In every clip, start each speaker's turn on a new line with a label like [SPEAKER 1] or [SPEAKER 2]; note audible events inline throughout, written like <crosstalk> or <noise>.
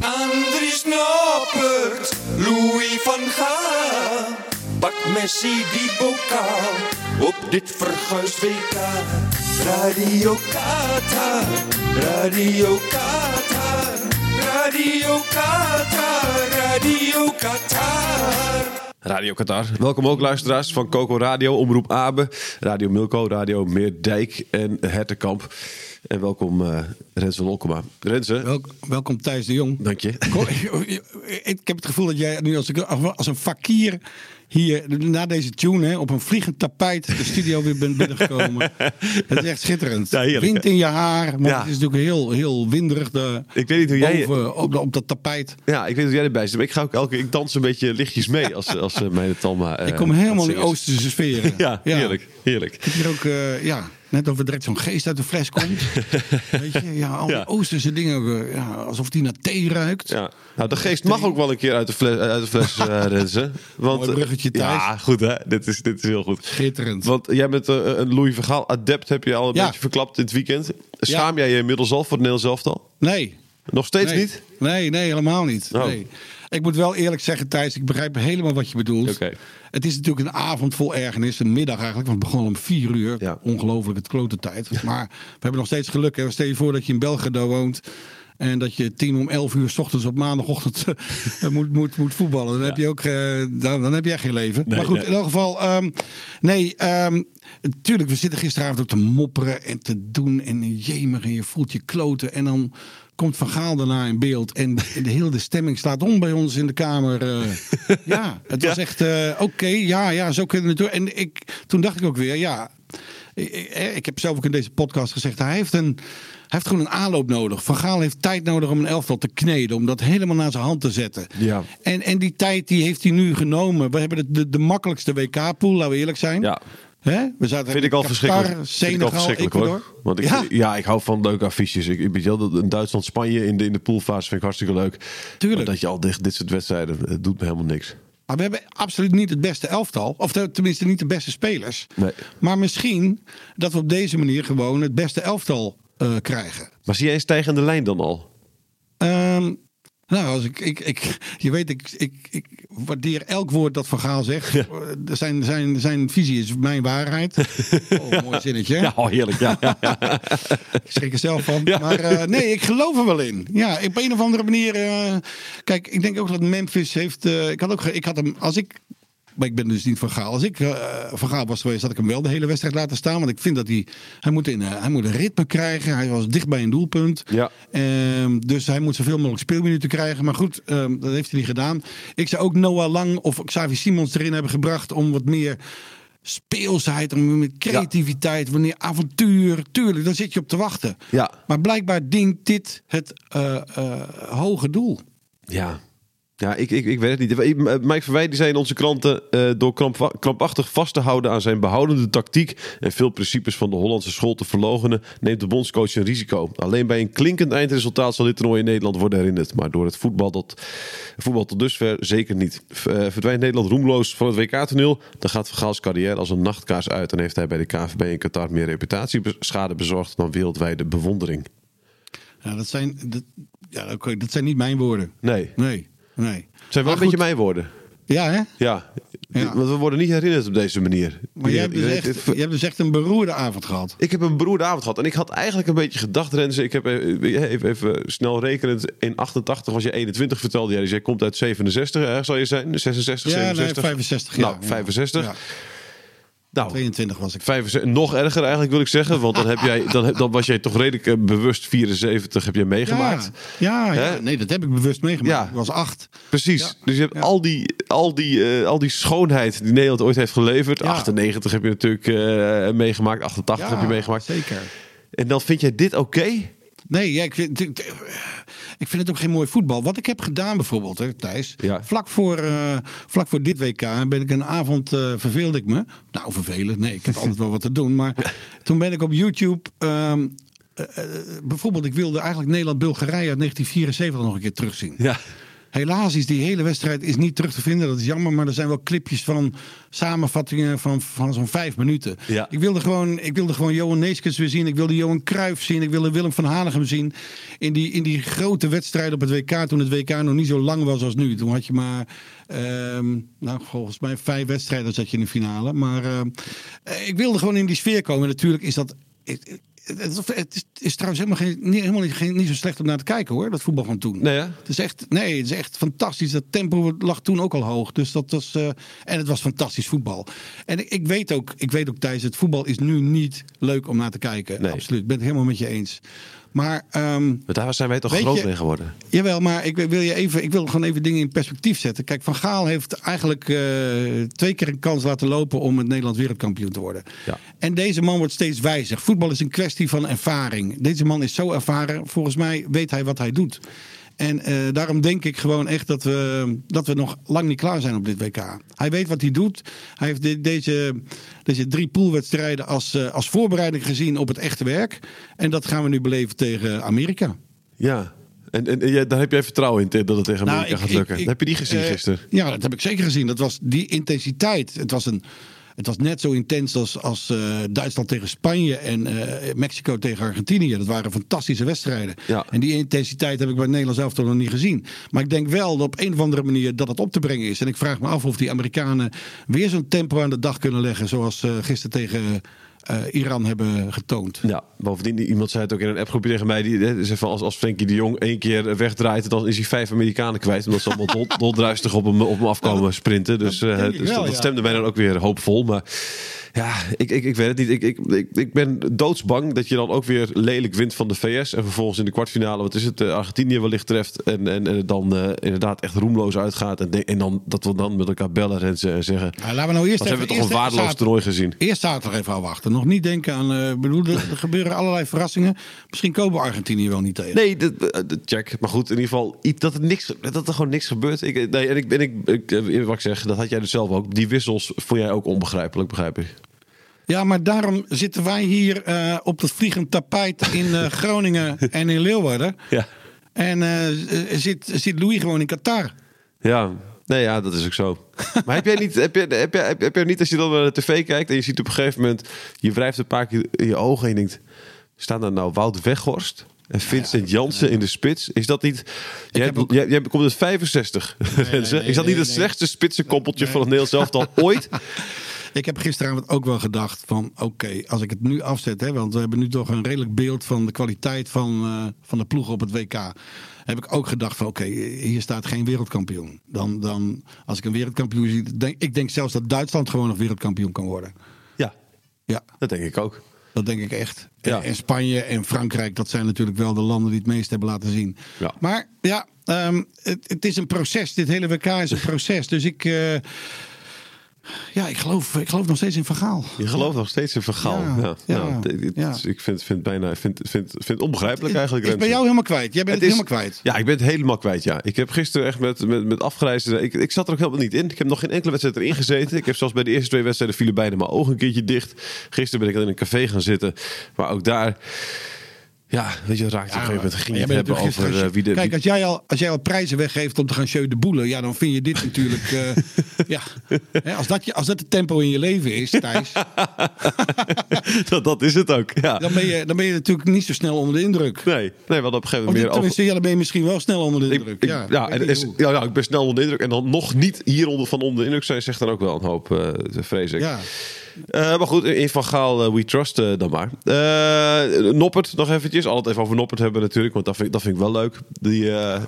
[SPEAKER 1] Andries Noppert, Louis van Gaal. Pak Messi die bokaal op dit verguisd WK. Radio Qatar, Radio Qatar, Radio Qatar, Radio Qatar.
[SPEAKER 2] Radio Qatar. Welkom ook luisteraars van Coco Radio, Omroep Abe, Radio Milko, Radio Meerdijk en Hertenkamp. En welkom eh Renze Lolkema. Renze,
[SPEAKER 3] Welk- welkom Thijs de Jong.
[SPEAKER 2] dank je.
[SPEAKER 3] Ko- ik heb het gevoel dat jij nu als, ik- als een fakir hier na deze tune hè, op een vliegend tapijt de studio weer
[SPEAKER 2] <laughs>
[SPEAKER 3] bent binnengekomen. Het is echt schitterend.
[SPEAKER 2] Ja, heerlijk,
[SPEAKER 3] Wind
[SPEAKER 2] hè?
[SPEAKER 3] in je haar, maar
[SPEAKER 2] Ja.
[SPEAKER 3] het is natuurlijk heel, heel winderig de,
[SPEAKER 2] Ik weet niet hoe jij-
[SPEAKER 3] boven, op, op dat tapijt.
[SPEAKER 2] Ja, ik weet dat jij erbij zit, maar ik, ga ook elke, ik dans een beetje lichtjes mee als, als eh, mijn Talma. eh,
[SPEAKER 3] Ik kom helemaal in
[SPEAKER 2] dat zingen is.
[SPEAKER 3] Oosterse sferen.
[SPEAKER 2] <laughs> Ja, heerlijk, heerlijk.
[SPEAKER 3] Hier ook, eh, ja, net of er direct zo'n geest uit de fles komt.
[SPEAKER 2] <laughs>
[SPEAKER 3] Weet je, ja, al die
[SPEAKER 2] Ja.
[SPEAKER 3] Oosterse dingen, ook, eh, ja, alsof die naar thee ruikt.
[SPEAKER 2] Ja. Nou, de geest mag ook wel een keer uit de fles, uit de fles
[SPEAKER 3] <laughs>
[SPEAKER 2] eh, renzen. Want, eh,
[SPEAKER 3] Mooi bruggetje, Thijs.
[SPEAKER 2] Ja, goed hè. Dit is, dit is heel goed.
[SPEAKER 3] Schitterend.
[SPEAKER 2] Want jij bent eh, een Louis Vergaal adept, heb je al een
[SPEAKER 3] Ja.
[SPEAKER 2] beetje verklapt dit weekend. Schaam jij je inmiddels al voor het Nederlands elftal?
[SPEAKER 3] Nee,
[SPEAKER 2] Nog steeds
[SPEAKER 3] nee.
[SPEAKER 2] niet?
[SPEAKER 3] Nee, nee, helemaal niet.
[SPEAKER 2] Oh.
[SPEAKER 3] Nee. Ik moet wel eerlijk zeggen, Thijs, ik begrijp helemaal wat je bedoelt.
[SPEAKER 2] Oké.
[SPEAKER 3] Het is natuurlijk een avond vol ergernis, een middag eigenlijk, want het begon om vier uur.
[SPEAKER 2] Ja.
[SPEAKER 3] Ongelooflijk, het klote tijd. <laughs> Maar we hebben nog steeds geluk. Hè. Stel je voor dat je in Belgrado woont en dat je tien om elf uur s ochtends op maandagochtend <laughs> eh, moet, moet, moet voetballen. Dan, heb je ook, eh, dan, dan heb je echt geen leven. maar goed, in elk geval, ehm, nee, ehm, natuurlijk, we zitten gisteravond ook te mopperen en te doen en jemig en je voelt je kloten en dan komt Van Gaal daarna in beeld. En de, de hele stemming slaat om bij ons in de Kamer. eh. ja, het was echt eh, oké. ja, ja, zo kunnen we het doen. En ik, toen dacht ik ook weer, ja... Ik, ik- eh, ik heb zelf ook in deze podcast gezegd, hij heeft, een, hij heeft gewoon een aanloop nodig. Van Gaal heeft tijd nodig om een elftal te kneden. Om dat helemaal naar zijn hand te zetten.
[SPEAKER 2] Ja.
[SPEAKER 3] En, en die tijd die heeft hij nu genomen. We hebben de, de, de makkelijkste WK-pool, laten we eerlijk zijn.
[SPEAKER 2] Ja.
[SPEAKER 3] Hè? We zaten
[SPEAKER 2] Vind ik al
[SPEAKER 3] Qatar,
[SPEAKER 2] verschrikkelijk. Vind ik al
[SPEAKER 3] Senegal,
[SPEAKER 2] verschrikkelijk
[SPEAKER 3] Ecuador.
[SPEAKER 2] hoor. Want ik, ja.
[SPEAKER 3] Ja.
[SPEAKER 2] ik hou van leuke affiches. Ik, ik weet je wel, dat- een Duitsland-Spanje in de, in de poolfase vind ik hartstikke leuk.
[SPEAKER 3] Tuurlijk.
[SPEAKER 2] Maar dat je al dit, dit soort wedstrijden, het doet me helemaal niks.
[SPEAKER 3] Maar we hebben absoluut niet het beste elftal. Of te- tenminste niet de beste spelers.
[SPEAKER 2] Nee.
[SPEAKER 3] Maar misschien dat we op deze manier gewoon het beste elftal eh, krijgen.
[SPEAKER 2] Maar zie jij een stijgende lijn dan al?
[SPEAKER 3] Ehm, nou, als ik, ik, ik, je weet, ik, ik, ik waardeer elk woord dat Van Gaal zegt. Eh, Zijn, zijn, zijn visie is mijn
[SPEAKER 2] <laughs>
[SPEAKER 3] waarheid. Oh, mooi zinnetje. hè?
[SPEAKER 2] Ja, oh, heerlijk. Ja, ja, ja.
[SPEAKER 3] <laughs> Ik schrik er zelf van. Maar eh, nee, ik geloof er wel in. Ja, op een of andere manier. eh, kijk, ik denk ook dat Memphis heeft. eh, ik had ook. ge- Ik had hem. Als ik. Maar ik ben dus niet van Gaal. Als ik eh, van Gaal was geweest, had ik hem wel de hele wedstrijd laten staan. Want ik vind dat hij. Hij moet, in, eh, hij moet een ritme krijgen. Hij was dicht bij een doelpunt.
[SPEAKER 2] Ja.
[SPEAKER 3] Ehm, dus hij moet zoveel mogelijk speelminuten krijgen. Maar goed, ehm, dat heeft hij niet gedaan. Ik zou ook Noah Lang of Xavi Simons erin hebben gebracht om wat meer speelsheid, om met creativiteit, wanneer avontuur. Tuurlijk, dan zit je op te wachten.
[SPEAKER 2] Ja.
[SPEAKER 3] Maar blijkbaar dient dit het eh, eh, hoge doel.
[SPEAKER 2] ja. Ja, ik, ik, ik weet het niet. Mike Verwij die zei in onze kranten... eh, door kramp, krampachtig vast te houden aan zijn behoudende tactiek... en veel principes van de Hollandse school te verlogenen... neemt de bondscoach een risico. Alleen bij een klinkend eindresultaat zal dit toernooi in Nederland worden herinnerd. Maar door het voetbal, dat, voetbal tot dusver zeker niet. V- eh, verdwijnt Nederland roemloos van het WK-toneel... dan gaat Van Gaals carrière als een nachtkaars uit... en heeft hij bij de KVB in Qatar meer reputatieschade bezorgd... dan wereldwijde bewondering.
[SPEAKER 3] Ja, dat zijn, dat, ja, oké, dat zijn niet mijn woorden.
[SPEAKER 2] Nee, het
[SPEAKER 3] Nee, nee.
[SPEAKER 2] zijn wel
[SPEAKER 3] Maar
[SPEAKER 2] een beetje
[SPEAKER 3] goed.
[SPEAKER 2] mijn woorden.
[SPEAKER 3] Ja, hè?
[SPEAKER 2] Ja,
[SPEAKER 3] Ja.
[SPEAKER 2] want we worden niet herinnerd op deze manier.
[SPEAKER 3] Maar jij
[SPEAKER 2] Ja,
[SPEAKER 3] hebt, dus
[SPEAKER 2] ik-
[SPEAKER 3] echt,
[SPEAKER 2] ik-
[SPEAKER 3] jij hebt dus echt een beroerde avond gehad.
[SPEAKER 2] Ik heb een beroerde avond gehad. En ik had eigenlijk een beetje gedacht, Renze. Ik heb even, even, even snel rekenend. In 88 was je 21, vertelde jij. Dus jij komt uit 67, ergens zal je zijn. 66,
[SPEAKER 3] Ja, nee,
[SPEAKER 2] 67.
[SPEAKER 3] 65
[SPEAKER 2] Nou,
[SPEAKER 3] ja.
[SPEAKER 2] 65.
[SPEAKER 3] Ja,
[SPEAKER 2] Nou,
[SPEAKER 3] 22 was ik.
[SPEAKER 2] 65, nog erger eigenlijk wil ik zeggen. Want dan, heb jij, dan, heb- dan was jij toch redelijk eh, bewust 74 heb jij meegemaakt.
[SPEAKER 3] Ja, ja,
[SPEAKER 2] Hè?
[SPEAKER 3] nee, dat heb ik bewust meegemaakt.
[SPEAKER 2] Ja.
[SPEAKER 3] Ik was acht.
[SPEAKER 2] Precies.
[SPEAKER 3] Ja.
[SPEAKER 2] Dus je hebt al, die, al, die, eh, al die schoonheid die Nederland ooit heeft geleverd.
[SPEAKER 3] Ja.
[SPEAKER 2] 98 heb je natuurlijk eh, meegemaakt. 88
[SPEAKER 3] Ja,
[SPEAKER 2] heb je meegemaakt.
[SPEAKER 3] Zeker.
[SPEAKER 2] En dan vind jij dit oké?
[SPEAKER 3] Nee, ja, ik, vind, ik ik vind het ook geen mooi voetbal. Wat ik heb gedaan bijvoorbeeld, hè, Thijs.
[SPEAKER 2] Ja.
[SPEAKER 3] Vlak, voor, eh, vlak voor dit WK ben ik een avond, eh, verveelde ik me. Nou, vervelen,
[SPEAKER 2] <laughs>
[SPEAKER 3] nee, ik heb altijd wel wat te doen. Maar toen ben ik op YouTube... ehm, eh, eh, bijvoorbeeld, ik wilde eigenlijk Nederland-Bulgarije uit 1974 nog een keer terugzien.
[SPEAKER 2] Ja.
[SPEAKER 3] Helaas is die hele wedstrijd is niet terug te vinden. Dat is jammer, maar er zijn wel clipjes van samenvattingen van, van zo'n vijf minuten.
[SPEAKER 2] Ja.
[SPEAKER 3] Ik, wilde gewoon, ik wilde gewoon Johan Neeskens weer zien. Ik wilde Johan Cruijff zien. Ik wilde Willem van Hanegem zien. In die, in die grote wedstrijd op het WK, toen het WK nog niet zo lang was als nu. Toen had je maar, ehm, nou, volgens mij vijf wedstrijden zat je in de finale. Maar ehm, eh, ik wilde gewoon in die sfeer komen. Natuurlijk is dat... Het, het- het is, het is trouwens helemaal, geen, niet, helemaal niet, geen, niet zo slecht om naar te kijken hoor, dat voetbal van toen.
[SPEAKER 2] Nee, hè?
[SPEAKER 3] Het is echt, nee, het is echt fantastisch. Dat tempo lag toen ook al hoog. Dus dat was, eh, en het was fantastisch voetbal. En ik, ik weet ook, ik weet ook Thijs, het voetbal is nu niet leuk om naar te kijken.
[SPEAKER 2] Nee.
[SPEAKER 3] Absoluut, ik ben het helemaal met je eens. Maar, ehm,
[SPEAKER 2] Maar daar zijn wij toch
[SPEAKER 3] Weet
[SPEAKER 2] groot
[SPEAKER 3] je-
[SPEAKER 2] mee geworden.
[SPEAKER 3] jawel, maar ik wil, je even, ik wil gewoon even dingen in perspectief zetten. Kijk, Van Gaal heeft eigenlijk eh, twee keer een kans laten lopen om het Nederlands wereldkampioen te worden.
[SPEAKER 2] Ja.
[SPEAKER 3] En deze man wordt steeds wijzer. Voetbal is een kwestie van ervaring. Deze man is zo ervaren. Volgens mij weet hij wat hij doet. En eh, daarom denk ik gewoon echt dat we, dat we nog lang niet klaar zijn op dit WK. Hij weet wat hij doet. Hij heeft de- deze, deze drie poolwedstrijden als, eh, als voorbereiding gezien op het echte werk. En dat gaan we nu beleven tegen Amerika.
[SPEAKER 2] Ja. En, en, en jij- daar heb jij vertrouwen in te- dat het tegen Amerika
[SPEAKER 3] Nou, ik-
[SPEAKER 2] gaat lukken.
[SPEAKER 3] ik- ik-
[SPEAKER 2] heb je die gezien
[SPEAKER 3] eh,
[SPEAKER 2] gisteren?
[SPEAKER 3] Ja, dat heb ik zeker gezien. Dat was die intensiteit. Het was, een, het was net zo intens als, als eh, Duitsland tegen Spanje en eh, Mexico tegen Argentinië. Dat waren fantastische wedstrijden.
[SPEAKER 2] Ja.
[SPEAKER 3] En die intensiteit heb ik bij Nederland zelf toch nog niet gezien. Maar ik denk wel dat op een of andere manier dat het op te brengen is. En ik vraag me af of die Amerikanen weer zo'n tempo aan de dag kunnen leggen. Zoals eh gisteren tegen eh, Iran hebben getoond.
[SPEAKER 2] Ja, bovendien, die- iemand zei het ook in een appgroepje tegen mij. Die hè, zei van, als, als Frenkie de Jong één keer wegdraait, dan is hij vijf Amerikanen kwijt. Omdat ze allemaal
[SPEAKER 3] <laughs>
[SPEAKER 2] dol, doldruistig op hem, op hem afkomen sprinten. Dus, eh,
[SPEAKER 3] denk ik
[SPEAKER 2] dus
[SPEAKER 3] wel,
[SPEAKER 2] dat
[SPEAKER 3] ja.
[SPEAKER 2] stemde mij dan ook weer hoopvol. Maar ja, ik, ik, ik weet het niet. Ik, ik, ik, ik ben doodsbang dat je dan ook weer lelijk wint van de VS. En vervolgens in de kwartfinale, wat is het, eh, Argentinië wellicht treft. En, en, en het dan eh, inderdaad echt roemloos uitgaat. En, de- en dan, dat we dan met elkaar bellen en, ze- en zeggen...
[SPEAKER 3] Nou, laten we nou eerst
[SPEAKER 2] Wat hebben
[SPEAKER 3] even-
[SPEAKER 2] we toch
[SPEAKER 3] eerst
[SPEAKER 2] een
[SPEAKER 3] even
[SPEAKER 2] waardeloos
[SPEAKER 3] zaten-
[SPEAKER 2] toernooi gezien.
[SPEAKER 3] Eerst zaterdag even afwachten. Nog niet denken aan. eh, Ik bedoel, er er gebeuren allerlei verrassingen. Misschien komen we Argentinië wel niet tegen.
[SPEAKER 2] Nee, dat, eh, dat- check. Maar goed, in ieder geval iets, dat, er niks, dat er gewoon niks gebeurt. Ik, eh, nee, en ik, en ik, ik, eh, wat ik zeg, dat had jij dus zelf ook. Die wissels vond jij ook onbegrijpelijk, begrijp ik.
[SPEAKER 3] Ja, maar daarom zitten wij hier eh, op dat vliegend tapijt in eh, Groningen en in Leeuwarden.
[SPEAKER 2] Ja.
[SPEAKER 3] En eh, eh, zit, zit Louis gewoon in Qatar.
[SPEAKER 2] Ja, nee, ja, dat is ook zo.
[SPEAKER 3] <laughs>
[SPEAKER 2] Maar heb jij niet, heb jij, heb jij, heb, heb jij niet als je dan naar de tv kijkt en je ziet op een gegeven moment, je wrijft een paar keer in je ogen en je denkt, staan daar nou Wout Weghorst? En Vincent Jansen in de spits. Is dat niet. Jij,
[SPEAKER 3] heb ook-
[SPEAKER 2] jij, jij komt uit 65. <laughs> Renze.
[SPEAKER 3] nee,
[SPEAKER 2] is dat niet
[SPEAKER 3] nee,
[SPEAKER 2] het
[SPEAKER 3] nee.
[SPEAKER 2] slechtste spitsenkoppeltje van het Nederlands
[SPEAKER 3] <laughs>
[SPEAKER 2] elftal ooit?
[SPEAKER 3] Ik heb gisteravond ook wel gedacht van oké, als ik het nu afzet, hè, want we hebben nu toch een redelijk beeld van de kwaliteit van, eh, van de ploeg op het WK. Heb ik ook gedacht van oké, hier staat geen wereldkampioen. Dan, dan, als ik een wereldkampioen zie, denk, ik denk zelfs dat Duitsland gewoon nog wereldkampioen kan worden.
[SPEAKER 2] Ja,
[SPEAKER 3] Ja,
[SPEAKER 2] Dat denk ik ook.
[SPEAKER 3] dat denk ik echt.
[SPEAKER 2] Ja.
[SPEAKER 3] En Spanje en Frankrijk, dat zijn natuurlijk wel de landen die het meest hebben laten zien.
[SPEAKER 2] Ja.
[SPEAKER 3] Maar ja, ehm, het, het is een proces. Dit hele WK is een proces. Dus ik, eh, ja, ik, geloof, ik geloof nog steeds in verhaal.
[SPEAKER 2] Je gelooft nog steeds in verhaal.
[SPEAKER 3] Ja, ja, ja.
[SPEAKER 2] Nou, Ik vind, vind, bijna, vind, vind, vind het onbegrijpelijk eigenlijk.
[SPEAKER 3] is bij
[SPEAKER 2] Renze.
[SPEAKER 3] jou helemaal kwijt. Jij bent het,
[SPEAKER 2] is-
[SPEAKER 3] helemaal kwijt.
[SPEAKER 2] Ja, ik ben het helemaal kwijt, ja. Ik heb gisteren echt met, met, met afgrijzen... Ik, ik zat er ook helemaal niet in. Ik heb nog geen enkele wedstrijd erin gezeten. Ik heb zelfs bij de eerste twee wedstrijden vielen bijna mijn ogen een keertje dicht. Gisteren ben ik dan in een café gaan zitten. Maar ook daar... Ja, weet je, raakte op een gegeven moment...
[SPEAKER 3] maar
[SPEAKER 2] ging je
[SPEAKER 3] jij bent
[SPEAKER 2] het hebben
[SPEAKER 3] natuurlijk
[SPEAKER 2] over
[SPEAKER 3] gisteren-
[SPEAKER 2] eh, wie de...
[SPEAKER 3] Kijk,
[SPEAKER 2] wie-
[SPEAKER 3] als jij, al, als jij al prijzen weggeeft om te gaan show de boelen, ja, dan vind je dit natuurlijk.
[SPEAKER 2] <laughs>
[SPEAKER 3] eh, ja. Hè, als, dat je, als dat het tempo in je leven is, Thijs,
[SPEAKER 2] <laughs> dat, dat is het ook, ja.
[SPEAKER 3] dan ben, je, dan ben je natuurlijk niet zo snel onder de indruk.
[SPEAKER 2] Nee, nee, we hadden op een gegeven
[SPEAKER 3] Of
[SPEAKER 2] moment
[SPEAKER 3] dit-
[SPEAKER 2] meer over...
[SPEAKER 3] tenminste, ja, dan ben je misschien wel snel onder de
[SPEAKER 2] Ik-
[SPEAKER 3] indruk.
[SPEAKER 2] ik-
[SPEAKER 3] ja,
[SPEAKER 2] ja,
[SPEAKER 3] Ik
[SPEAKER 2] en
[SPEAKER 3] weet
[SPEAKER 2] is,
[SPEAKER 3] niet hoe.
[SPEAKER 2] ja, ja, ik ben snel onder de indruk. En dan nog niet hieronder van onder de indruk zijn, zegt dan ook wel een hoop, eh vrees ik.
[SPEAKER 3] Ja.
[SPEAKER 2] Eh, maar goed, in Van Gaal, eh, we trust eh, dan maar. Eh, Noppert nog eventjes. Altijd even over Noppert hebben natuurlijk, want dat vind, ik- dat vind ik wel leuk. Die, eh,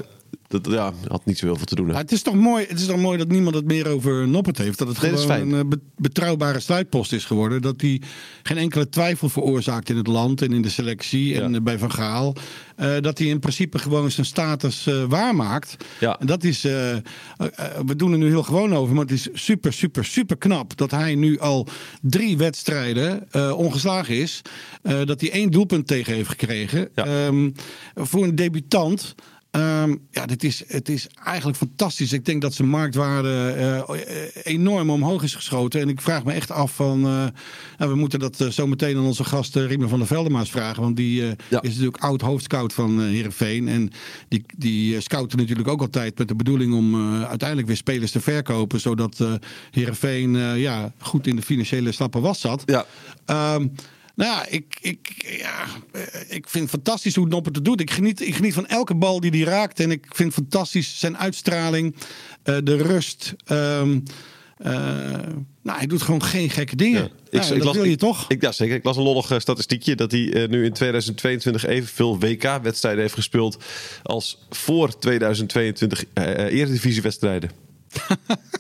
[SPEAKER 2] dat ja, had niet zo heel veel te doen. hè.
[SPEAKER 3] Maar het, is toch mooi, het is toch mooi dat niemand het meer over Noppert heeft. Dat het
[SPEAKER 2] Nee, dat is
[SPEAKER 3] gewoon een eh, be- betrouwbare sluitpost is geworden. Dat hij geen enkele twijfel veroorzaakt in het land en in de selectie en
[SPEAKER 2] Ja.
[SPEAKER 3] eh, bij Van Gaal. Eh, dat hij in principe gewoon zijn status eh, waarmaakt.
[SPEAKER 2] Ja.
[SPEAKER 3] En dat is, eh, eh, eh, we doen er nu heel gewoon over, maar het is super, super, super knap dat hij nu al drie wedstrijden eh, ongeslagen is. Eh, dat hij één doelpunt tegen heeft gekregen.
[SPEAKER 2] Ja.
[SPEAKER 3] Ehm, voor een debutant. ehm, ja, dit is, het is eigenlijk fantastisch. Ik denk dat zijn marktwaarde eh, enorm omhoog is geschoten. En ik vraag me echt af van... eh, nou, we moeten dat eh, zo meteen aan onze gast eh, Riemer van der Veldemaas vragen. Want die eh,
[SPEAKER 2] Ja.
[SPEAKER 3] is natuurlijk oud hoofdscout van eh Heerenveen. En die, die eh, scouten natuurlijk ook altijd met de bedoeling om eh, uiteindelijk weer spelers te verkopen. Zodat eh Heerenveen eh, ja, goed in de financiële slappe was zat.
[SPEAKER 2] Ja.
[SPEAKER 3] Ehm, nou ja, ik, ik, ja, eh, ik vind het fantastisch hoe Noppert het doet. Ik geniet, ik geniet van elke bal die hij raakt. En ik vind fantastisch zijn uitstraling, eh, de rust. ehm, eh, nou, hij doet gewoon geen gekke dingen. Nou, dat wil je toch?
[SPEAKER 2] Ik, ja, zeker. Ik las een lollig eh, statistiekje dat hij eh, nu in 2022 evenveel WK-wedstrijden heeft gespeeld als voor 2022 eh eh, eredivisiewedstrijden.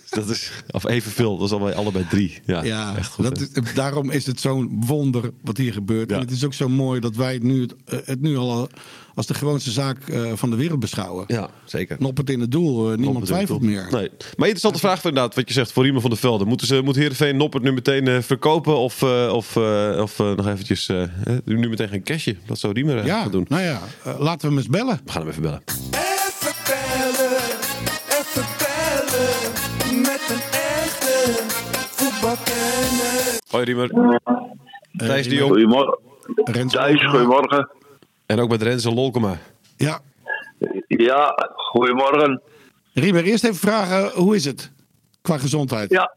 [SPEAKER 2] Dus dat is, of evenveel, dat is allebei, allebei drie. Ja,
[SPEAKER 3] ja,
[SPEAKER 2] echt goed.
[SPEAKER 3] dat
[SPEAKER 2] hè?
[SPEAKER 3] is- daarom is het zo'n wonder wat hier gebeurt.
[SPEAKER 2] Ja.
[SPEAKER 3] En het is ook zo mooi dat wij het nu, het, het nu al eh, als de gewoonste zaak eh, van de wereld beschouwen.
[SPEAKER 2] Ja, zeker.
[SPEAKER 3] Noppert in het doel, eh, niemand
[SPEAKER 2] Noppert
[SPEAKER 3] twijfelt
[SPEAKER 2] in het
[SPEAKER 3] meer.
[SPEAKER 2] doel. Nee. Maar interessante vraag voor inderdaad, wat je zegt voor Riemen van der Velde. Moeten ze, moet Heerenveen Noppert nu meteen eh, verkopen of, eh, of, eh, of eh, nog eventjes eh, eh, nu meteen gaan cashen? Dat zou Riemen eh,
[SPEAKER 3] Ja,
[SPEAKER 2] gaan doen.
[SPEAKER 3] nou ja, eh, laten we hem eens bellen.
[SPEAKER 2] We gaan hem even bellen.
[SPEAKER 1] Even bellen, even bellen met een echte voetbalkenner.
[SPEAKER 2] Hoi Riemer. Thijs de Jong.
[SPEAKER 4] Goedemorgen.
[SPEAKER 3] Rens
[SPEAKER 4] Thijs, goedemorgen.
[SPEAKER 2] En ook met Renze Lolkema.
[SPEAKER 3] Ja,
[SPEAKER 4] Ja, goedemorgen.
[SPEAKER 3] Rieber, eerst even vragen, eh, hoe is het qua gezondheid?
[SPEAKER 4] Ja,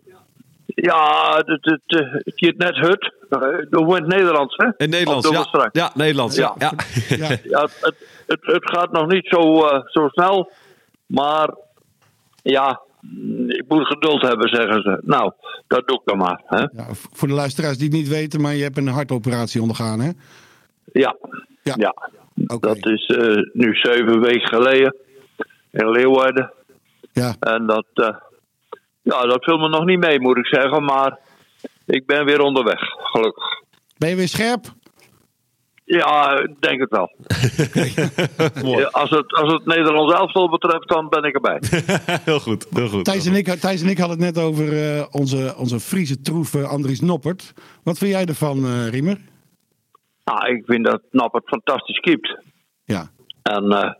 [SPEAKER 4] ja het, het, het, het gaat net hut. Eh, Doen we in het Nederlands, hè?
[SPEAKER 2] In Nederlands,
[SPEAKER 4] Op de
[SPEAKER 2] ja.
[SPEAKER 4] Oostenrijk.
[SPEAKER 2] Ja, Nederlands, ja. ja. <laughs>
[SPEAKER 4] Ja.
[SPEAKER 3] Ja.
[SPEAKER 4] Ja, het, het, het, het gaat nog niet zo, eh, zo snel. Maar ja, ik moet geduld hebben, zeggen ze. Nou, dat doe ik dan maar. Hè?
[SPEAKER 3] Ja, v- voor de luisteraars die het niet weten, maar je hebt een hartoperatie ondergaan, hè?
[SPEAKER 4] Ja.
[SPEAKER 3] Ja.
[SPEAKER 4] ja.
[SPEAKER 3] Oké.
[SPEAKER 4] Dat is eh, nu zeven weken geleden in Leeuwarden.
[SPEAKER 3] Ja,
[SPEAKER 4] En dat, eh, ja, dat viel me nog niet mee, moet ik zeggen. Maar ik ben weer onderweg, gelukkig.
[SPEAKER 3] ben je weer scherp?
[SPEAKER 4] Ja, ik denk het wel.
[SPEAKER 2] Mooi.
[SPEAKER 4] Ja, Als het, als het Nederlands elftal betreft, dan ben ik erbij.
[SPEAKER 2] heel goed, heel goed.
[SPEAKER 3] Thijs en ik, eh, Thijs en ik hadden het net over eh, onze, onze Friese troef eh, Andries Noppert. Wat vind jij ervan, eh, Riemer?
[SPEAKER 4] Ah, ik vind dat Nappert fantastisch keept.
[SPEAKER 3] Ja,
[SPEAKER 4] En eh,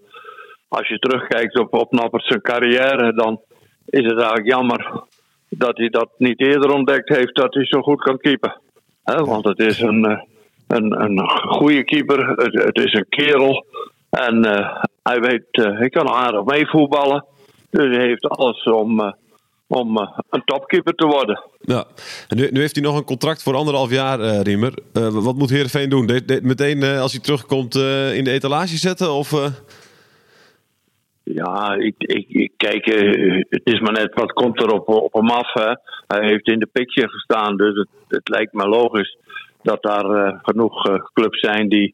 [SPEAKER 4] als je terugkijkt op, op Nappert zijn carrière, dan is het eigenlijk jammer dat hij dat niet eerder ontdekt heeft dat hij zo goed kan keepen. Hè, want het is een, eh, een, een goede keeper, het, het is een kerel. En eh, hij weet, eh, hij kan aardig meevoetballen. Dus hij heeft alles om, eh, om eh, een topkeeper te worden.
[SPEAKER 2] Ja. En nu, nu heeft hij nog een contract voor anderhalf jaar, eh, Riemer. Eh, wat moet Heerenveen doen? De- de- meteen eh, als hij terugkomt eh, in de etalage zetten? Of, eh,
[SPEAKER 4] Ja, ik, ik, ik kijk, eh, het is maar net wat komt er op, op hem af. Hè? Hij heeft in de picture gestaan, dus het, het lijkt me logisch dat daar eh, genoeg eh, clubs zijn die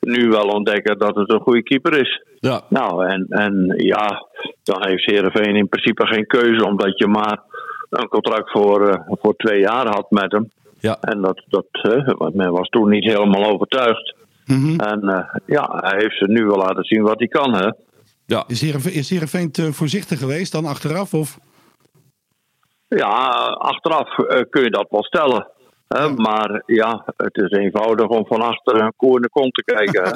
[SPEAKER 4] nu wel ontdekken dat het een goede keeper is.
[SPEAKER 2] Ja.
[SPEAKER 4] Nou, en, en ja, dan heeft Heerenveen in principe geen keuze, omdat je maar een contract voor, eh, voor twee jaar had met hem.
[SPEAKER 2] Ja.
[SPEAKER 4] En dat, dat eh, want men was toen niet helemaal overtuigd. En eh, ja, hij heeft ze nu wel laten zien wat hij kan, hè.
[SPEAKER 2] ja.
[SPEAKER 3] is Heerenveen, is Heerenveen te voorzichtig geweest dan achteraf? Of?
[SPEAKER 4] Ja, achteraf eh, kun je dat wel stellen. Hè? Maar ja, het is eenvoudig om van achter een koe in de kont te kijken. hè.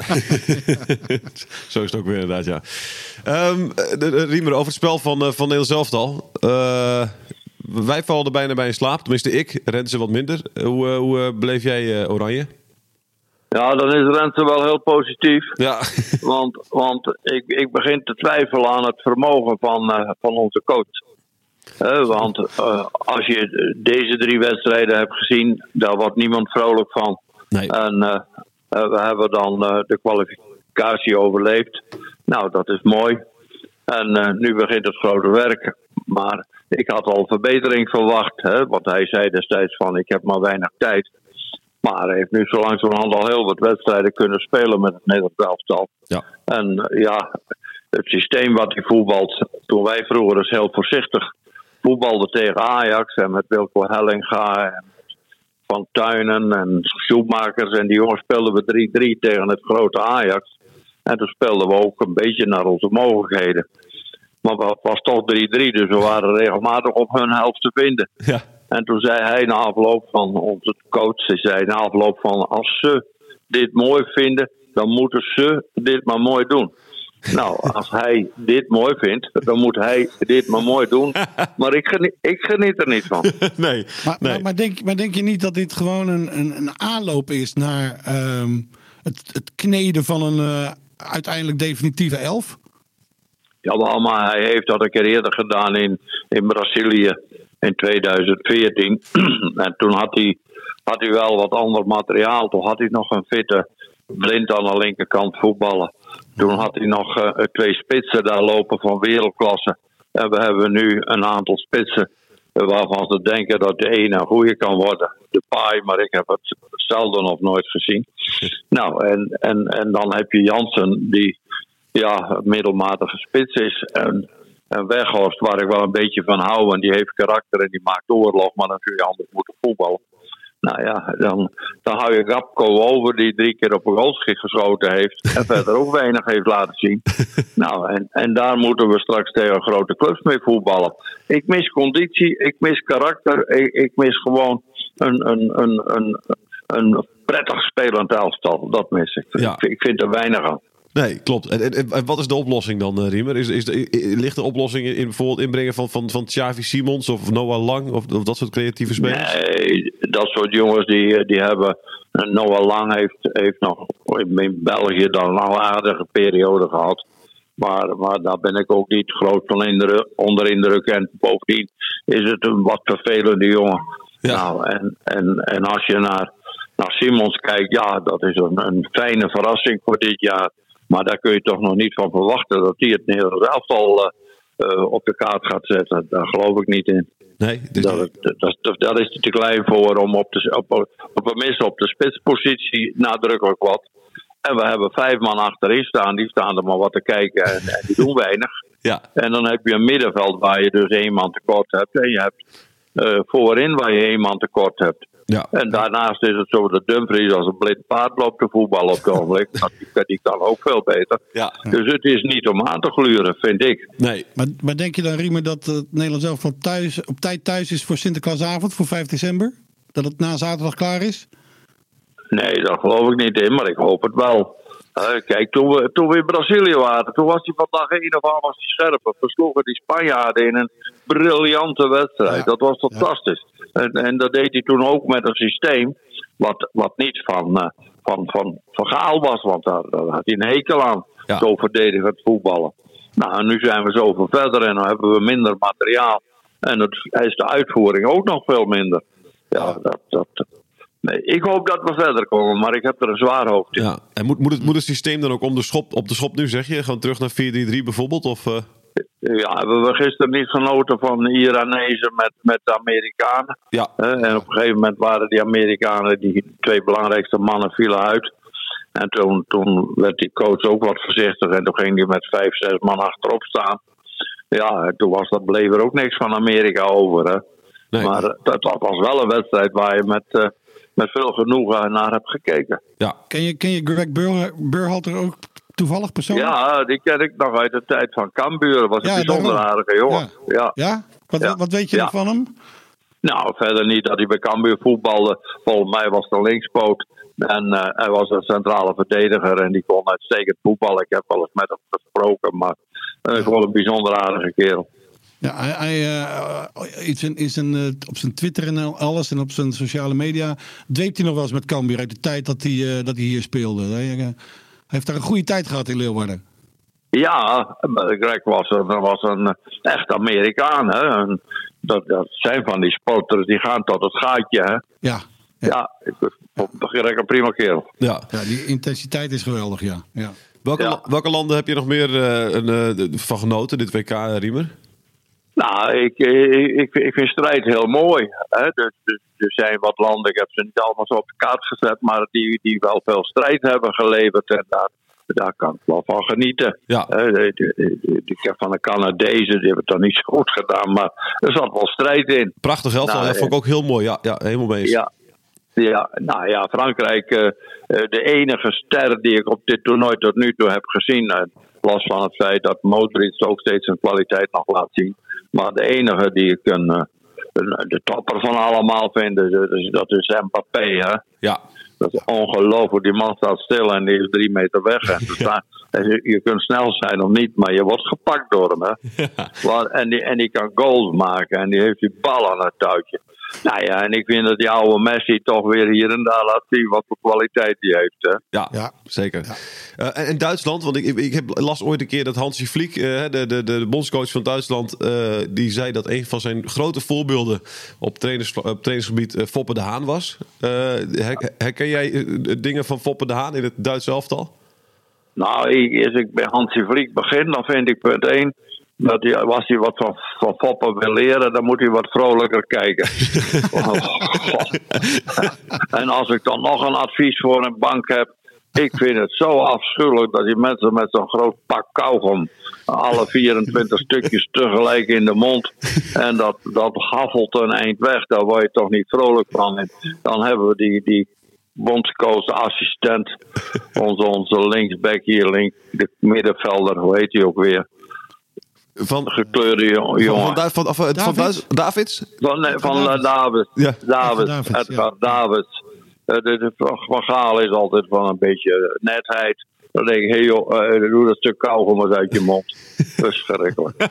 [SPEAKER 2] <laughs> Zo is het ook weer inderdaad, ja. Ehm, eh, de- de- Riemer, over het spel van, eh van Nederland zelftal. Eh, wij vallen er bijna bij in slaap. Tenminste, ik. Renze wat minder. Eh, hoe eh, hoe eh, beleef jij eh, Oranje?
[SPEAKER 4] ja, dan is Rente wel heel positief.
[SPEAKER 2] Ja.
[SPEAKER 4] Want, want ik, ik begin te twijfelen aan het vermogen van, eh, van onze coach. Hè, want eh, als je deze drie wedstrijden hebt gezien, daar wordt niemand vrolijk van.
[SPEAKER 2] Nee.
[SPEAKER 4] En eh, eh, we hebben dan eh, de kwalificatie overleefd. Nou, dat is mooi. En eh, nu begint het grote werk. Maar ik had al verbetering verwacht. Hè, want hij zei destijds van ik heb maar weinig tijd. Maar hij heeft nu zo langzamerhand al heel wat wedstrijden kunnen spelen met het Nederlands elftal.
[SPEAKER 2] <laughs> ja.
[SPEAKER 4] En eh, ja, het systeem wat hij voetbalt. Toen wij vroeger dus heel voorzichtig voetbalden tegen Ajax en met Wilco Hellinga en Van Tuinen en Schoenmakers. En die jongens speelden we 3-3 tegen het grote Ajax. En toen speelden we ook een beetje naar onze mogelijkheden. Maar het was toch 3-3, dus we waren regelmatig op hun helft te vinden.
[SPEAKER 2] Ja.
[SPEAKER 4] En toen zei hij na afloop van onze coach, hij zei na afloop van als ze dit mooi vinden, dan moeten ze dit maar mooi doen. Nou, als hij dit mooi vindt, dan moet hij dit maar mooi doen. Maar ik geniet, ik geniet er niet van.
[SPEAKER 2] nee.
[SPEAKER 3] Maar,
[SPEAKER 2] nee.
[SPEAKER 3] maar, maar, denk, maar denk je niet dat dit gewoon een, een, een aanloop is naar ehm, het, het kneden van een eh, uiteindelijk definitieve elf?
[SPEAKER 4] Ja, maar, maar hij heeft dat een keer eerder gedaan in, in Brazilië in 2014. <clears throat> en toen had hij, had hij wel wat ander materiaal. Toen had hij nog een fitte blind aan de linkerkant voetballen. Toen had hij nog eh, twee spitsen daar lopen van wereldklasse. En we hebben nu een aantal spitsen eh, waarvan ze denken dat de ene een goede kan worden. De paai, maar ik heb het zelden of nooit gezien. Nou, en, en, en dan heb je Jansen die ja, middelmatige spits is. En, en Weghorst, waar ik wel een beetje van hou, en die heeft karakter en die maakt oorlog, maar dan zul je anders moeten voetballen. Nou ja, dan, dan hou je Rapko over, die drie keer op een goalschik geschoten heeft. En <laughs> verder ook weinig heeft laten zien. Nou, en, en daar moeten we straks tegen grote clubs mee voetballen. Ik mis conditie, ik mis karakter, ik, ik mis gewoon een, een, een, een, een prettig spelend elftal. Dat mis ik.
[SPEAKER 2] Ja.
[SPEAKER 4] Ik, ik vind er weinig aan.
[SPEAKER 2] Nee, klopt. En, en- en, en wat is de oplossing dan, eh, Riemer? Is, is de, i- i- ligt de oplossing in, in bijvoorbeeld inbrengen van, van, van Xavi Simons of Noah Lang of, of dat soort creatieve spelers?
[SPEAKER 4] Nee, dat soort jongens die, die hebben. eh, Noah Lang heeft, heeft nog in België dan nog een aardige periode gehad. Maar, maar daar ben ik ook niet groot van indru- onder indruk. En bovendien is het een wat vervelende jongen.
[SPEAKER 2] Ja.
[SPEAKER 4] Nou, en, en, en als je naar, naar Simons kijkt, ja, dat is een, een fijne verrassing voor dit jaar. Maar daar kun je toch nog niet van verwachten dat hij het Nederlands elftal eh, eh, op de kaart gaat zetten. Daar geloof ik niet in.
[SPEAKER 2] Nee, dus-
[SPEAKER 4] Dat, dat, dat, dat is hij te klein voor om op de, op, op, op, minst op de spitspositie nadrukkelijk wat. En we hebben vijf man achterin staan, die staan er maar wat te kijken en, en die doen weinig.
[SPEAKER 2] ja.
[SPEAKER 4] En dan heb je een middenveld waar je dus één man tekort hebt. En je hebt eh, voorin waar je één man tekort hebt.
[SPEAKER 2] Ja.
[SPEAKER 4] En daarnaast is het zo dat Dumfries als een blind paard loopt te voetballen op het ogenblik. Dat- Die, kan- die kan ook veel beter.
[SPEAKER 2] Ja.
[SPEAKER 4] Dus het is niet om aan te gluren, vind ik.
[SPEAKER 2] Nee.
[SPEAKER 3] Maar, maar denk je dan, Riemer, dat het Nederlands elftal thuis, op tijd thuis is voor Sinterklaasavond, voor 5 december? Dat het na zaterdag klaar is?
[SPEAKER 4] Nee, daar geloof ik niet in, maar ik hoop het wel. Eh, kijk, toen we, toen we in Brazilië waren, toen was hij vandaag één of aan was die scherper. Versloegen die Spanjaarden in een briljante wedstrijd.
[SPEAKER 3] Ja.
[SPEAKER 4] Dat was fantastisch. En, en dat deed hij toen ook met een systeem wat, wat niet van, eh, van, van, van Gaal was, want daar, daar had hij een hekel aan.
[SPEAKER 2] Ja.
[SPEAKER 4] Zo verdedigend voetballen. Nou, en nu zijn we zoveel verder en dan hebben we minder materiaal. En het, is de uitvoering ook nog veel minder. Ja, dat, dat, Nee, ik hoop dat we verder komen, maar ik heb er een zwaar hoofd in. Ja,
[SPEAKER 2] Ja. En moet, moet, het, moet het systeem dan ook om de schop, op de schop nu, zeg je? Gewoon terug naar 4-3-3 bijvoorbeeld? Of, eh?
[SPEAKER 4] hebben we gisteren niet genoten van de Iranezen met, met de Amerikanen.
[SPEAKER 2] Ja.
[SPEAKER 4] Hè, en op een gegeven moment waren die Amerikanen, die twee belangrijkste mannen, vielen uit. En toen, toen werd die coach ook wat voorzichtig en toen ging hij met vijf, zes man achterop staan. Ja, en toen was, dat, bleef er ook niks van Amerika over. Hè.
[SPEAKER 2] Nee.
[SPEAKER 4] Maar dat, dat was wel een wedstrijd waar je met, eh, met veel genoegen naar hebt gekeken.
[SPEAKER 2] Ja.
[SPEAKER 3] Ken je, ken je Greg Bur- Burhalter ook toevallig persoonlijk?
[SPEAKER 4] Ja, die ken ik nog uit de tijd van Cambuur. Was een
[SPEAKER 3] Ja,
[SPEAKER 4] bijzonder
[SPEAKER 3] daarom.
[SPEAKER 4] aardige jongen. Ja.
[SPEAKER 3] Ja? Wat,
[SPEAKER 4] Ja.
[SPEAKER 3] wat weet je
[SPEAKER 4] Ja.
[SPEAKER 3] nog van hem?
[SPEAKER 4] Nou, verder niet dat hij bij Cambuur voetbalde. Volgens mij was hij een linkspoot. En eh, hij was een centrale verdediger. En die kon uitstekend voetballen. Ik heb wel eens met hem gesproken. Maar eh, gewoon een bijzonder aardige kerel.
[SPEAKER 3] Ja, hij, hij eh, in zijn, in zijn, eh, op zijn Twitter en al- alles en op zijn sociale media dweept hij nog wel eens met Cambuur uit de tijd dat hij, eh, dat hij hier speelde. Hij, eh, hij heeft daar een goede tijd gehad in Leeuwarden.
[SPEAKER 4] Ja, Greg was een, was een eh, echt Amerikaan. Hè? En dat, dat zijn van die sporters. Die gaan tot het gaatje. Hè?
[SPEAKER 3] Ja,
[SPEAKER 4] Ja, ik Greg een prima kerel.
[SPEAKER 2] ja.
[SPEAKER 3] ja die intensiteit is geweldig, ja. ja.
[SPEAKER 2] Welke,
[SPEAKER 4] Ja.
[SPEAKER 2] la- welke landen heb je nog meer eh, een, eh, van genoten, dit WK, eh, Riemer?
[SPEAKER 4] Nou, ik, ik, ik, ik vind strijd heel mooi. Hè? Dus, dus er zijn wat landen, ik heb ze niet allemaal zo op de kaart gezet, maar die, die wel veel strijd hebben geleverd. En daar, daar kan ik wel van genieten.
[SPEAKER 2] Ja.
[SPEAKER 4] Hè, de- de- de- de- Ik heb van de Canadezen, die hebben het dan niet zo goed gedaan, maar er zat wel strijd in.
[SPEAKER 2] Prachtig elftal,
[SPEAKER 4] Nou,
[SPEAKER 2] ja, vond ik ook heel mooi. Ja, ja helemaal mee eens.
[SPEAKER 4] Ja. Ja, nou ja, Frankrijk, eh, eh, de enige ster die ik op dit toernooi tot nu toe heb gezien. eh, los van het feit dat Modric ook steeds zijn kwaliteit nog laat zien. Maar de enige die ik een, eh, een- de topper van allemaal vind, dus, eh, dus dat is Mbappé. Hè?
[SPEAKER 2] Ja.
[SPEAKER 4] Dat is ongelooflijk. Die man staat stil en die is drie meter weg. En dus daar- en je- je kunt snel zijn of niet, maar je wordt gepakt door hem. Hè?
[SPEAKER 2] <laughs>
[SPEAKER 4] Want- en, die, en die kan goals maken en die heeft die bal aan het touwtje. Nou ja, en ik vind dat die oude Messi toch weer hier en daar laat zien wat voor kwaliteit die heeft. Hè?
[SPEAKER 2] Ja,
[SPEAKER 3] Ja.
[SPEAKER 2] zeker. Eh, en, en Duitsland, want ik, ik- ik heb las ooit een keer dat Hansi Flick, eh, de, de, de bondscoach van Duitsland, eh, die zei dat een van zijn grote voorbeelden op, trainers, op trainingsgebied eh, Foppe de Haan was. Eh, her- herken jij eh, dingen van Foppe de Haan in het Duitse elftal?
[SPEAKER 4] Nou, ik, als ik bij Hansi Vliek begin, dan vind ik punt 1. Dat hij, als hij wat van, van Foppen wil leren, dan moet hij wat vrolijker kijken. Oh, God. en als ik dan nog een advies voor een bank heb. Ik vind het zo afschuwelijk dat die mensen met zo'n groot pak kauwgom... alle 24 stukjes tegelijk in de mond... en dat, dat haffelt een eind weg. Daar word je toch niet vrolijk van. En dan hebben we die, die bondscoach-assistent... onze, onze linksback hier, link, de middenvelder, hoe heet hij ook weer?
[SPEAKER 2] Van,
[SPEAKER 4] Gekleurde jo-
[SPEAKER 2] van,
[SPEAKER 4] jongen.
[SPEAKER 2] van, Du- van, of, eh, van
[SPEAKER 3] Davids?
[SPEAKER 2] Duits- Davids?
[SPEAKER 4] Van, eh, van eh, Davids.
[SPEAKER 2] Ja.
[SPEAKER 4] Davids.
[SPEAKER 3] Davids, ja.
[SPEAKER 4] Edgar Davids. Eh, de, de, van Gaal is altijd van een beetje eh, netheid. Dan denk ik, hé joh, eh, doe dat stuk kauwgom eens uit je mond. Verschrikkelijk.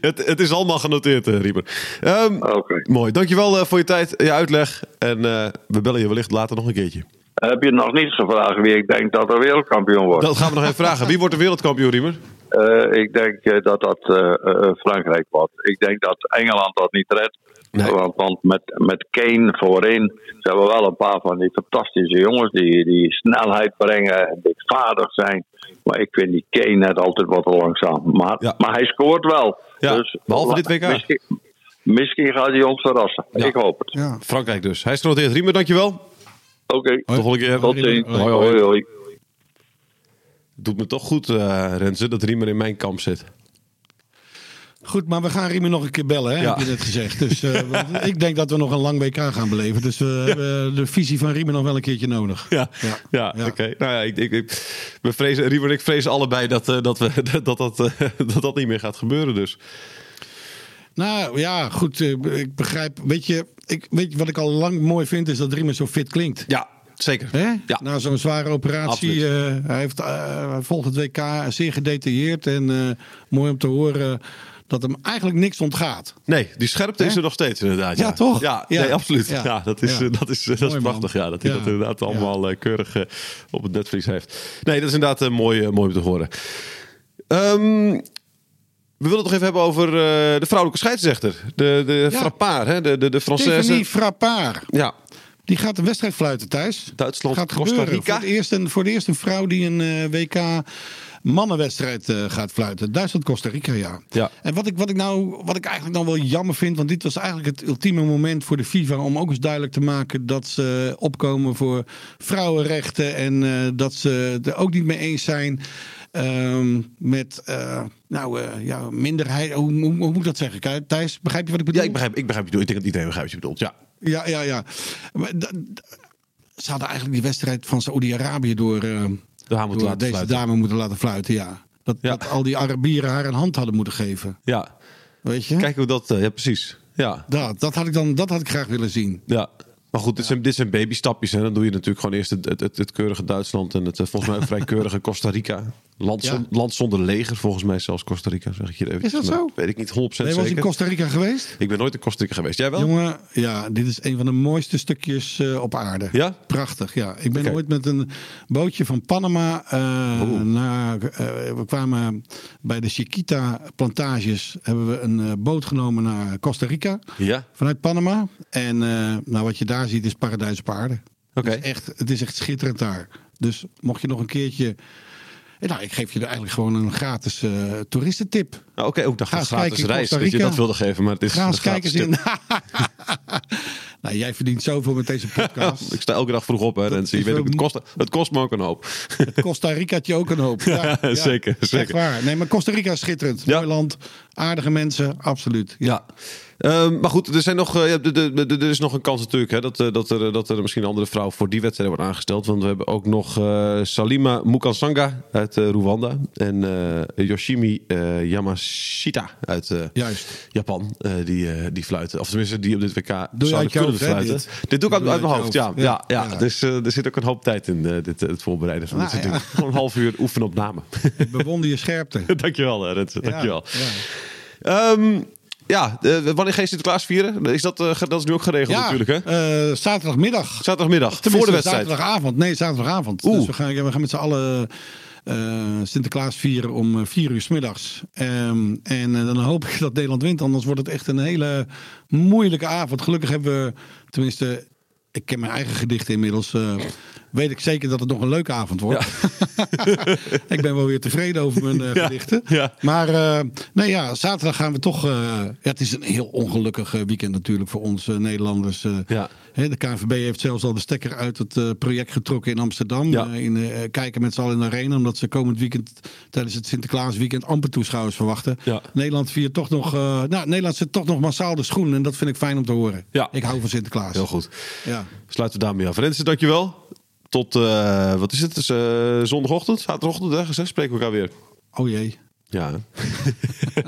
[SPEAKER 2] het, het is allemaal genoteerd, eh, Rieber. Ehm,
[SPEAKER 4] Oké.
[SPEAKER 2] Mooi, dankjewel eh, voor je tijd, je uitleg. En eh, we bellen je wellicht later nog een keertje.
[SPEAKER 4] Heb je nog niet gevraagd wie ik denk dat er wereldkampioen wordt?
[SPEAKER 2] Dat gaan we nog even vragen. Wie wordt de wereldkampioen, Riemer?
[SPEAKER 4] Eh, ik denk eh, dat dat eh, eh, Frankrijk wordt. Ik denk dat Engeland dat niet redt.
[SPEAKER 2] Nee.
[SPEAKER 4] Want, want met, met Kane voorin. Ze hebben wel een paar van die fantastische jongens die, die snelheid brengen en vaardig zijn. Maar ik vind die Kane net altijd wat te langzaam. Maar,
[SPEAKER 2] Ja.
[SPEAKER 4] maar hij scoort wel. Dus
[SPEAKER 2] Ja, behalve dit WK.
[SPEAKER 4] Misschien, misschien gaat hij ons verrassen.
[SPEAKER 2] Ja.
[SPEAKER 4] Ik hoop het.
[SPEAKER 3] Ja.
[SPEAKER 2] Frankrijk dus. Hij is genoteerd. Riemer, dankjewel.
[SPEAKER 4] Oké,
[SPEAKER 2] Tot de volgende keer.
[SPEAKER 4] tot ziens.
[SPEAKER 3] Hoi,
[SPEAKER 2] hoi.
[SPEAKER 4] hoi. hoi.
[SPEAKER 2] Doet me toch goed, eh Renze, dat Riemer in mijn kamp zit.
[SPEAKER 3] Goed, maar we gaan Riemen nog een keer bellen, hè,
[SPEAKER 2] Ja.
[SPEAKER 3] heb je net gezegd.
[SPEAKER 2] <laughs>
[SPEAKER 3] Dus eh, want ik denk dat we nog een lang WK gaan beleven. Dus we hebben de visie van Riemen nog wel een keertje nodig.
[SPEAKER 2] Ja, ja.
[SPEAKER 3] Ja. Ja.
[SPEAKER 2] oké. Nou ja, ik, ik, ik, we vrezen, Riemer en ik vrezen allebei dat, eh, dat, we, <laughs> dat, dat, eh, dat dat niet meer gaat gebeuren dus.
[SPEAKER 3] Nou ja, goed, eh, ik begrijp. Weet je, ik, weet je, wat ik al lang mooi vind, is dat Riemen zo fit klinkt.
[SPEAKER 2] Ja, zeker.
[SPEAKER 3] Hè?
[SPEAKER 2] Ja.
[SPEAKER 3] Na zo'n zware operatie. eh, hij, heeft, eh, hij volgt het WK zeer gedetailleerd. En eh, mooi om te horen dat hem eigenlijk niks ontgaat.
[SPEAKER 2] Nee, die scherpte is
[SPEAKER 3] Hè?
[SPEAKER 2] er nog steeds inderdaad. Ja,
[SPEAKER 3] Ja, toch?
[SPEAKER 2] Ja,
[SPEAKER 3] Ja.
[SPEAKER 2] nee, absoluut. Ja.
[SPEAKER 3] Ja.
[SPEAKER 2] dat is,
[SPEAKER 3] Ja.
[SPEAKER 2] eh, Dat is, eh, dat is
[SPEAKER 3] Mooi, man.
[SPEAKER 2] prachtig. Ja, dat hij
[SPEAKER 3] Ja.
[SPEAKER 2] dat inderdaad
[SPEAKER 3] Ja.
[SPEAKER 2] allemaal eh, keurig eh, op het netvlies heeft. Nee, dat is inderdaad eh, mooi, eh, mooi om te horen. Ehm, we willen het nog even hebben over eh, de vrouwelijke scheidsrechter. De, de
[SPEAKER 3] Ja.
[SPEAKER 2] frappaar, hè? de, de, de
[SPEAKER 3] Stephanie
[SPEAKER 2] Française.
[SPEAKER 3] Frappard.
[SPEAKER 2] Ja,
[SPEAKER 3] Die gaat een wedstrijd fluiten thuis.
[SPEAKER 2] Duitsland,
[SPEAKER 3] gaat
[SPEAKER 2] Costa
[SPEAKER 3] gebeuren.
[SPEAKER 2] Rica.
[SPEAKER 3] Voor het eerst een, voor het eerst een vrouw die een eh, WK mannenwedstrijd eh, gaat fluiten. Duitsland, Costa Rica, ja.
[SPEAKER 2] Ja.
[SPEAKER 3] En wat ik, wat, ik nou, wat ik eigenlijk dan wel jammer vind, want dit was eigenlijk het ultieme moment voor de FIFA om ook eens duidelijk te maken dat ze eh, opkomen voor vrouwenrechten en eh, dat ze het er ook niet mee eens zijn. ehm, met eh, nou, eh, ja, minderheid. Hoe, hoe, hoe moet ik dat zeggen? Kijk, Thijs, begrijp je wat ik bedoel?
[SPEAKER 2] ja ik, begrijp, ik begrijp je bedoel. Ik denk dat iedereen begrijpt wat je bedoelt. Ja,
[SPEAKER 3] Ja, ja, ja. Maar da- da- ze hadden eigenlijk die wedstrijd van Saoedi-Arabië door, eh,
[SPEAKER 2] de haar moet
[SPEAKER 3] door
[SPEAKER 2] laten
[SPEAKER 3] deze
[SPEAKER 2] fluiten.
[SPEAKER 3] dame moeten laten fluiten, ja. Dat,
[SPEAKER 2] Ja.
[SPEAKER 3] dat al die Arabieren haar een hand hadden moeten geven.
[SPEAKER 2] Ja,
[SPEAKER 3] Weet je?
[SPEAKER 2] kijk hoe dat... eh, ja, precies. Ja,
[SPEAKER 3] Dat, dat had ik dan dat had ik graag willen zien.
[SPEAKER 2] Ja. Maar goed, dit zijn, dit zijn babystapjes. En dan doe je natuurlijk gewoon eerst het, het, het, het keurige Duitsland en het eh, volgens mij vrij
[SPEAKER 3] <laughs>
[SPEAKER 2] keurige Costa Rica. Land, zon-
[SPEAKER 3] Ja.
[SPEAKER 2] land zonder leger, volgens mij zelfs Costa Rica, zeg ik je even. Nou,
[SPEAKER 3] Is dat zo?
[SPEAKER 2] Weet ik niet 100%
[SPEAKER 3] Nee, was
[SPEAKER 2] zeker.
[SPEAKER 3] in Costa Rica geweest?
[SPEAKER 2] Ik ben nooit in Costa Rica geweest. Jij wel?
[SPEAKER 3] Jongen, ja, dit is een van de mooiste stukjes eh, op aarde.
[SPEAKER 2] Ja?
[SPEAKER 3] Prachtig, ja. Ik ben
[SPEAKER 2] Oké.
[SPEAKER 3] ooit met een bootje van Panama eh, naar... eh, we kwamen bij de Chiquita-plantages... hebben we een eh, boot genomen naar Costa Rica.
[SPEAKER 2] Ja.
[SPEAKER 3] Vanuit Panama. En eh, nou, wat je daar ziet is paradijs op aarde.
[SPEAKER 2] Oké.
[SPEAKER 3] Het, is echt, het is echt schitterend daar. Dus mocht je nog een keertje... eh, Nou, ik geef je er eigenlijk gewoon een gratis eh, toeristentip.
[SPEAKER 2] Nou, Oké, ook dan
[SPEAKER 3] Ga
[SPEAKER 2] gaat
[SPEAKER 3] eens
[SPEAKER 2] gratis
[SPEAKER 3] kijken in
[SPEAKER 2] reis.
[SPEAKER 3] Costa
[SPEAKER 2] Dat je
[SPEAKER 3] Rica.
[SPEAKER 2] dat wilde geven, maar het is
[SPEAKER 3] Ga
[SPEAKER 2] een
[SPEAKER 3] eens kijken
[SPEAKER 2] gratis
[SPEAKER 3] eens in.
[SPEAKER 2] tip.
[SPEAKER 3] nou <laughs> Nou, jij verdient zoveel met deze
[SPEAKER 2] <laughs>
[SPEAKER 3] podcast.
[SPEAKER 2] Ik sta elke dag vroeg op, hè, Renzi. Je weet
[SPEAKER 3] is wel
[SPEAKER 2] ook, het, kost, het kost me ook een hoop.
[SPEAKER 3] Costa Rica had je ook een
[SPEAKER 2] <laughs>
[SPEAKER 3] hoop. Ja,
[SPEAKER 2] Ja, zeker,
[SPEAKER 3] Echt
[SPEAKER 2] zeker.
[SPEAKER 3] waar. Nee, maar Costa Rica is schitterend.
[SPEAKER 2] Ja.
[SPEAKER 3] Mooi land. Aardige mensen, absoluut. Ja.
[SPEAKER 2] Ehm, maar goed, er, zijn nog, eh, ja, de- de- de- er is nog een kans natuurlijk hè, dat, eh, dat, er, dat er misschien een andere vrouw voor die wedstrijd wordt aangesteld. Want we hebben ook nog eh, Salima Mukansanga uit eh, Rwanda en eh, Yoshimi eh, Yamashita uit eh,
[SPEAKER 3] Juist.
[SPEAKER 2] Japan. eh, die, eh, die fluiten, of tenminste die op dit WK
[SPEAKER 3] je
[SPEAKER 2] zouden
[SPEAKER 3] uit je
[SPEAKER 2] kunnen
[SPEAKER 3] hoofd, hè,
[SPEAKER 2] fluiten.
[SPEAKER 3] dit?
[SPEAKER 2] Dit, doe ik uit,
[SPEAKER 3] Doe je
[SPEAKER 2] uit mijn
[SPEAKER 3] uit
[SPEAKER 2] hoofd,
[SPEAKER 3] je
[SPEAKER 2] ja.
[SPEAKER 3] hoofd.
[SPEAKER 2] ja, ja,
[SPEAKER 3] Ja.
[SPEAKER 2] Dus eh, er zit ook een hoop tijd in eh, dit, eh, het voorbereiden van dit
[SPEAKER 3] Nou,
[SPEAKER 2] natuurlijk. Gewoon een half uur oefenen op namen.
[SPEAKER 3] Ik bewonder je scherpte.
[SPEAKER 2] <laughs> dankjewel, eh, Renze, <laughs>
[SPEAKER 3] Ja,
[SPEAKER 2] dankjewel.
[SPEAKER 3] ja.
[SPEAKER 2] Ehm, ja, eh, wanneer ga je Sinterklaas vieren? Is dat, eh, ge- dat is nu ook geregeld
[SPEAKER 3] Ja,
[SPEAKER 2] natuurlijk, hè?
[SPEAKER 3] eh, zaterdagmiddag.
[SPEAKER 2] Zaterdagmiddag, voor de
[SPEAKER 3] Tenminste,
[SPEAKER 2] wedstrijd.
[SPEAKER 3] Zaterdagavond. Nee, zaterdagavond.
[SPEAKER 2] Oeh.
[SPEAKER 3] Dus we gaan, we gaan met z'n allen eh, Sinterklaas vieren om eh, vier uur s middags. Ehm, en eh, dan hoop ik dat Nederland wint. Anders wordt het echt een hele moeilijke avond. Gelukkig hebben we, tenminste, ik ken mijn eigen gedichten inmiddels. eh, weet ik zeker dat het nog een leuke avond wordt. <laughs> ik ben wel weer tevreden over mijn eh, gedichten.
[SPEAKER 2] ja.
[SPEAKER 3] Maar eh, nee, ja, zaterdag gaan we toch. eh, ja, het is een heel ongelukkig eh, weekend natuurlijk voor ons eh, Nederlanders. eh.
[SPEAKER 2] Ja.
[SPEAKER 3] Hè, de KNVB heeft zelfs al de stekker uit het eh, project getrokken in Amsterdam.
[SPEAKER 2] Ja.
[SPEAKER 3] Eh, in, eh, kijken met z'n allen in de arena. Omdat ze komend weekend tijdens het Sinterklaasweekend amper toeschouwers verwachten.
[SPEAKER 2] Ja.
[SPEAKER 3] Nederland viert toch nog. eh, nou, Nederland zit toch nog massaal de schoen. En dat vind ik fijn om te horen.
[SPEAKER 2] Ja.
[SPEAKER 3] Ik hou van Sinterklaas.
[SPEAKER 2] Heel goed.
[SPEAKER 3] Ja.
[SPEAKER 2] Sluiten we daarmee af. Renze, dankjewel. Tot, eh, wat is het? Het is, eh, zondagochtend, zaterdagochtend, ergens, hè? Spreken we elkaar weer.
[SPEAKER 3] Oh jee.
[SPEAKER 2] Ja. hè?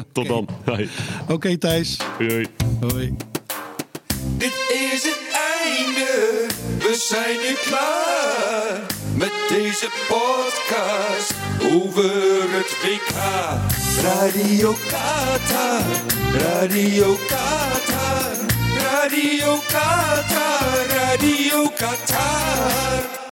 [SPEAKER 2] <laughs> Tot dan. Hoi.
[SPEAKER 3] Oké, Thijs.
[SPEAKER 2] Hoi, hoi.
[SPEAKER 3] Hoi.
[SPEAKER 1] Dit is het einde, we zijn nu klaar met deze podcast over het WK. Radio Qatar, Radio Qatar, Radio Qatar, Radio Qatar.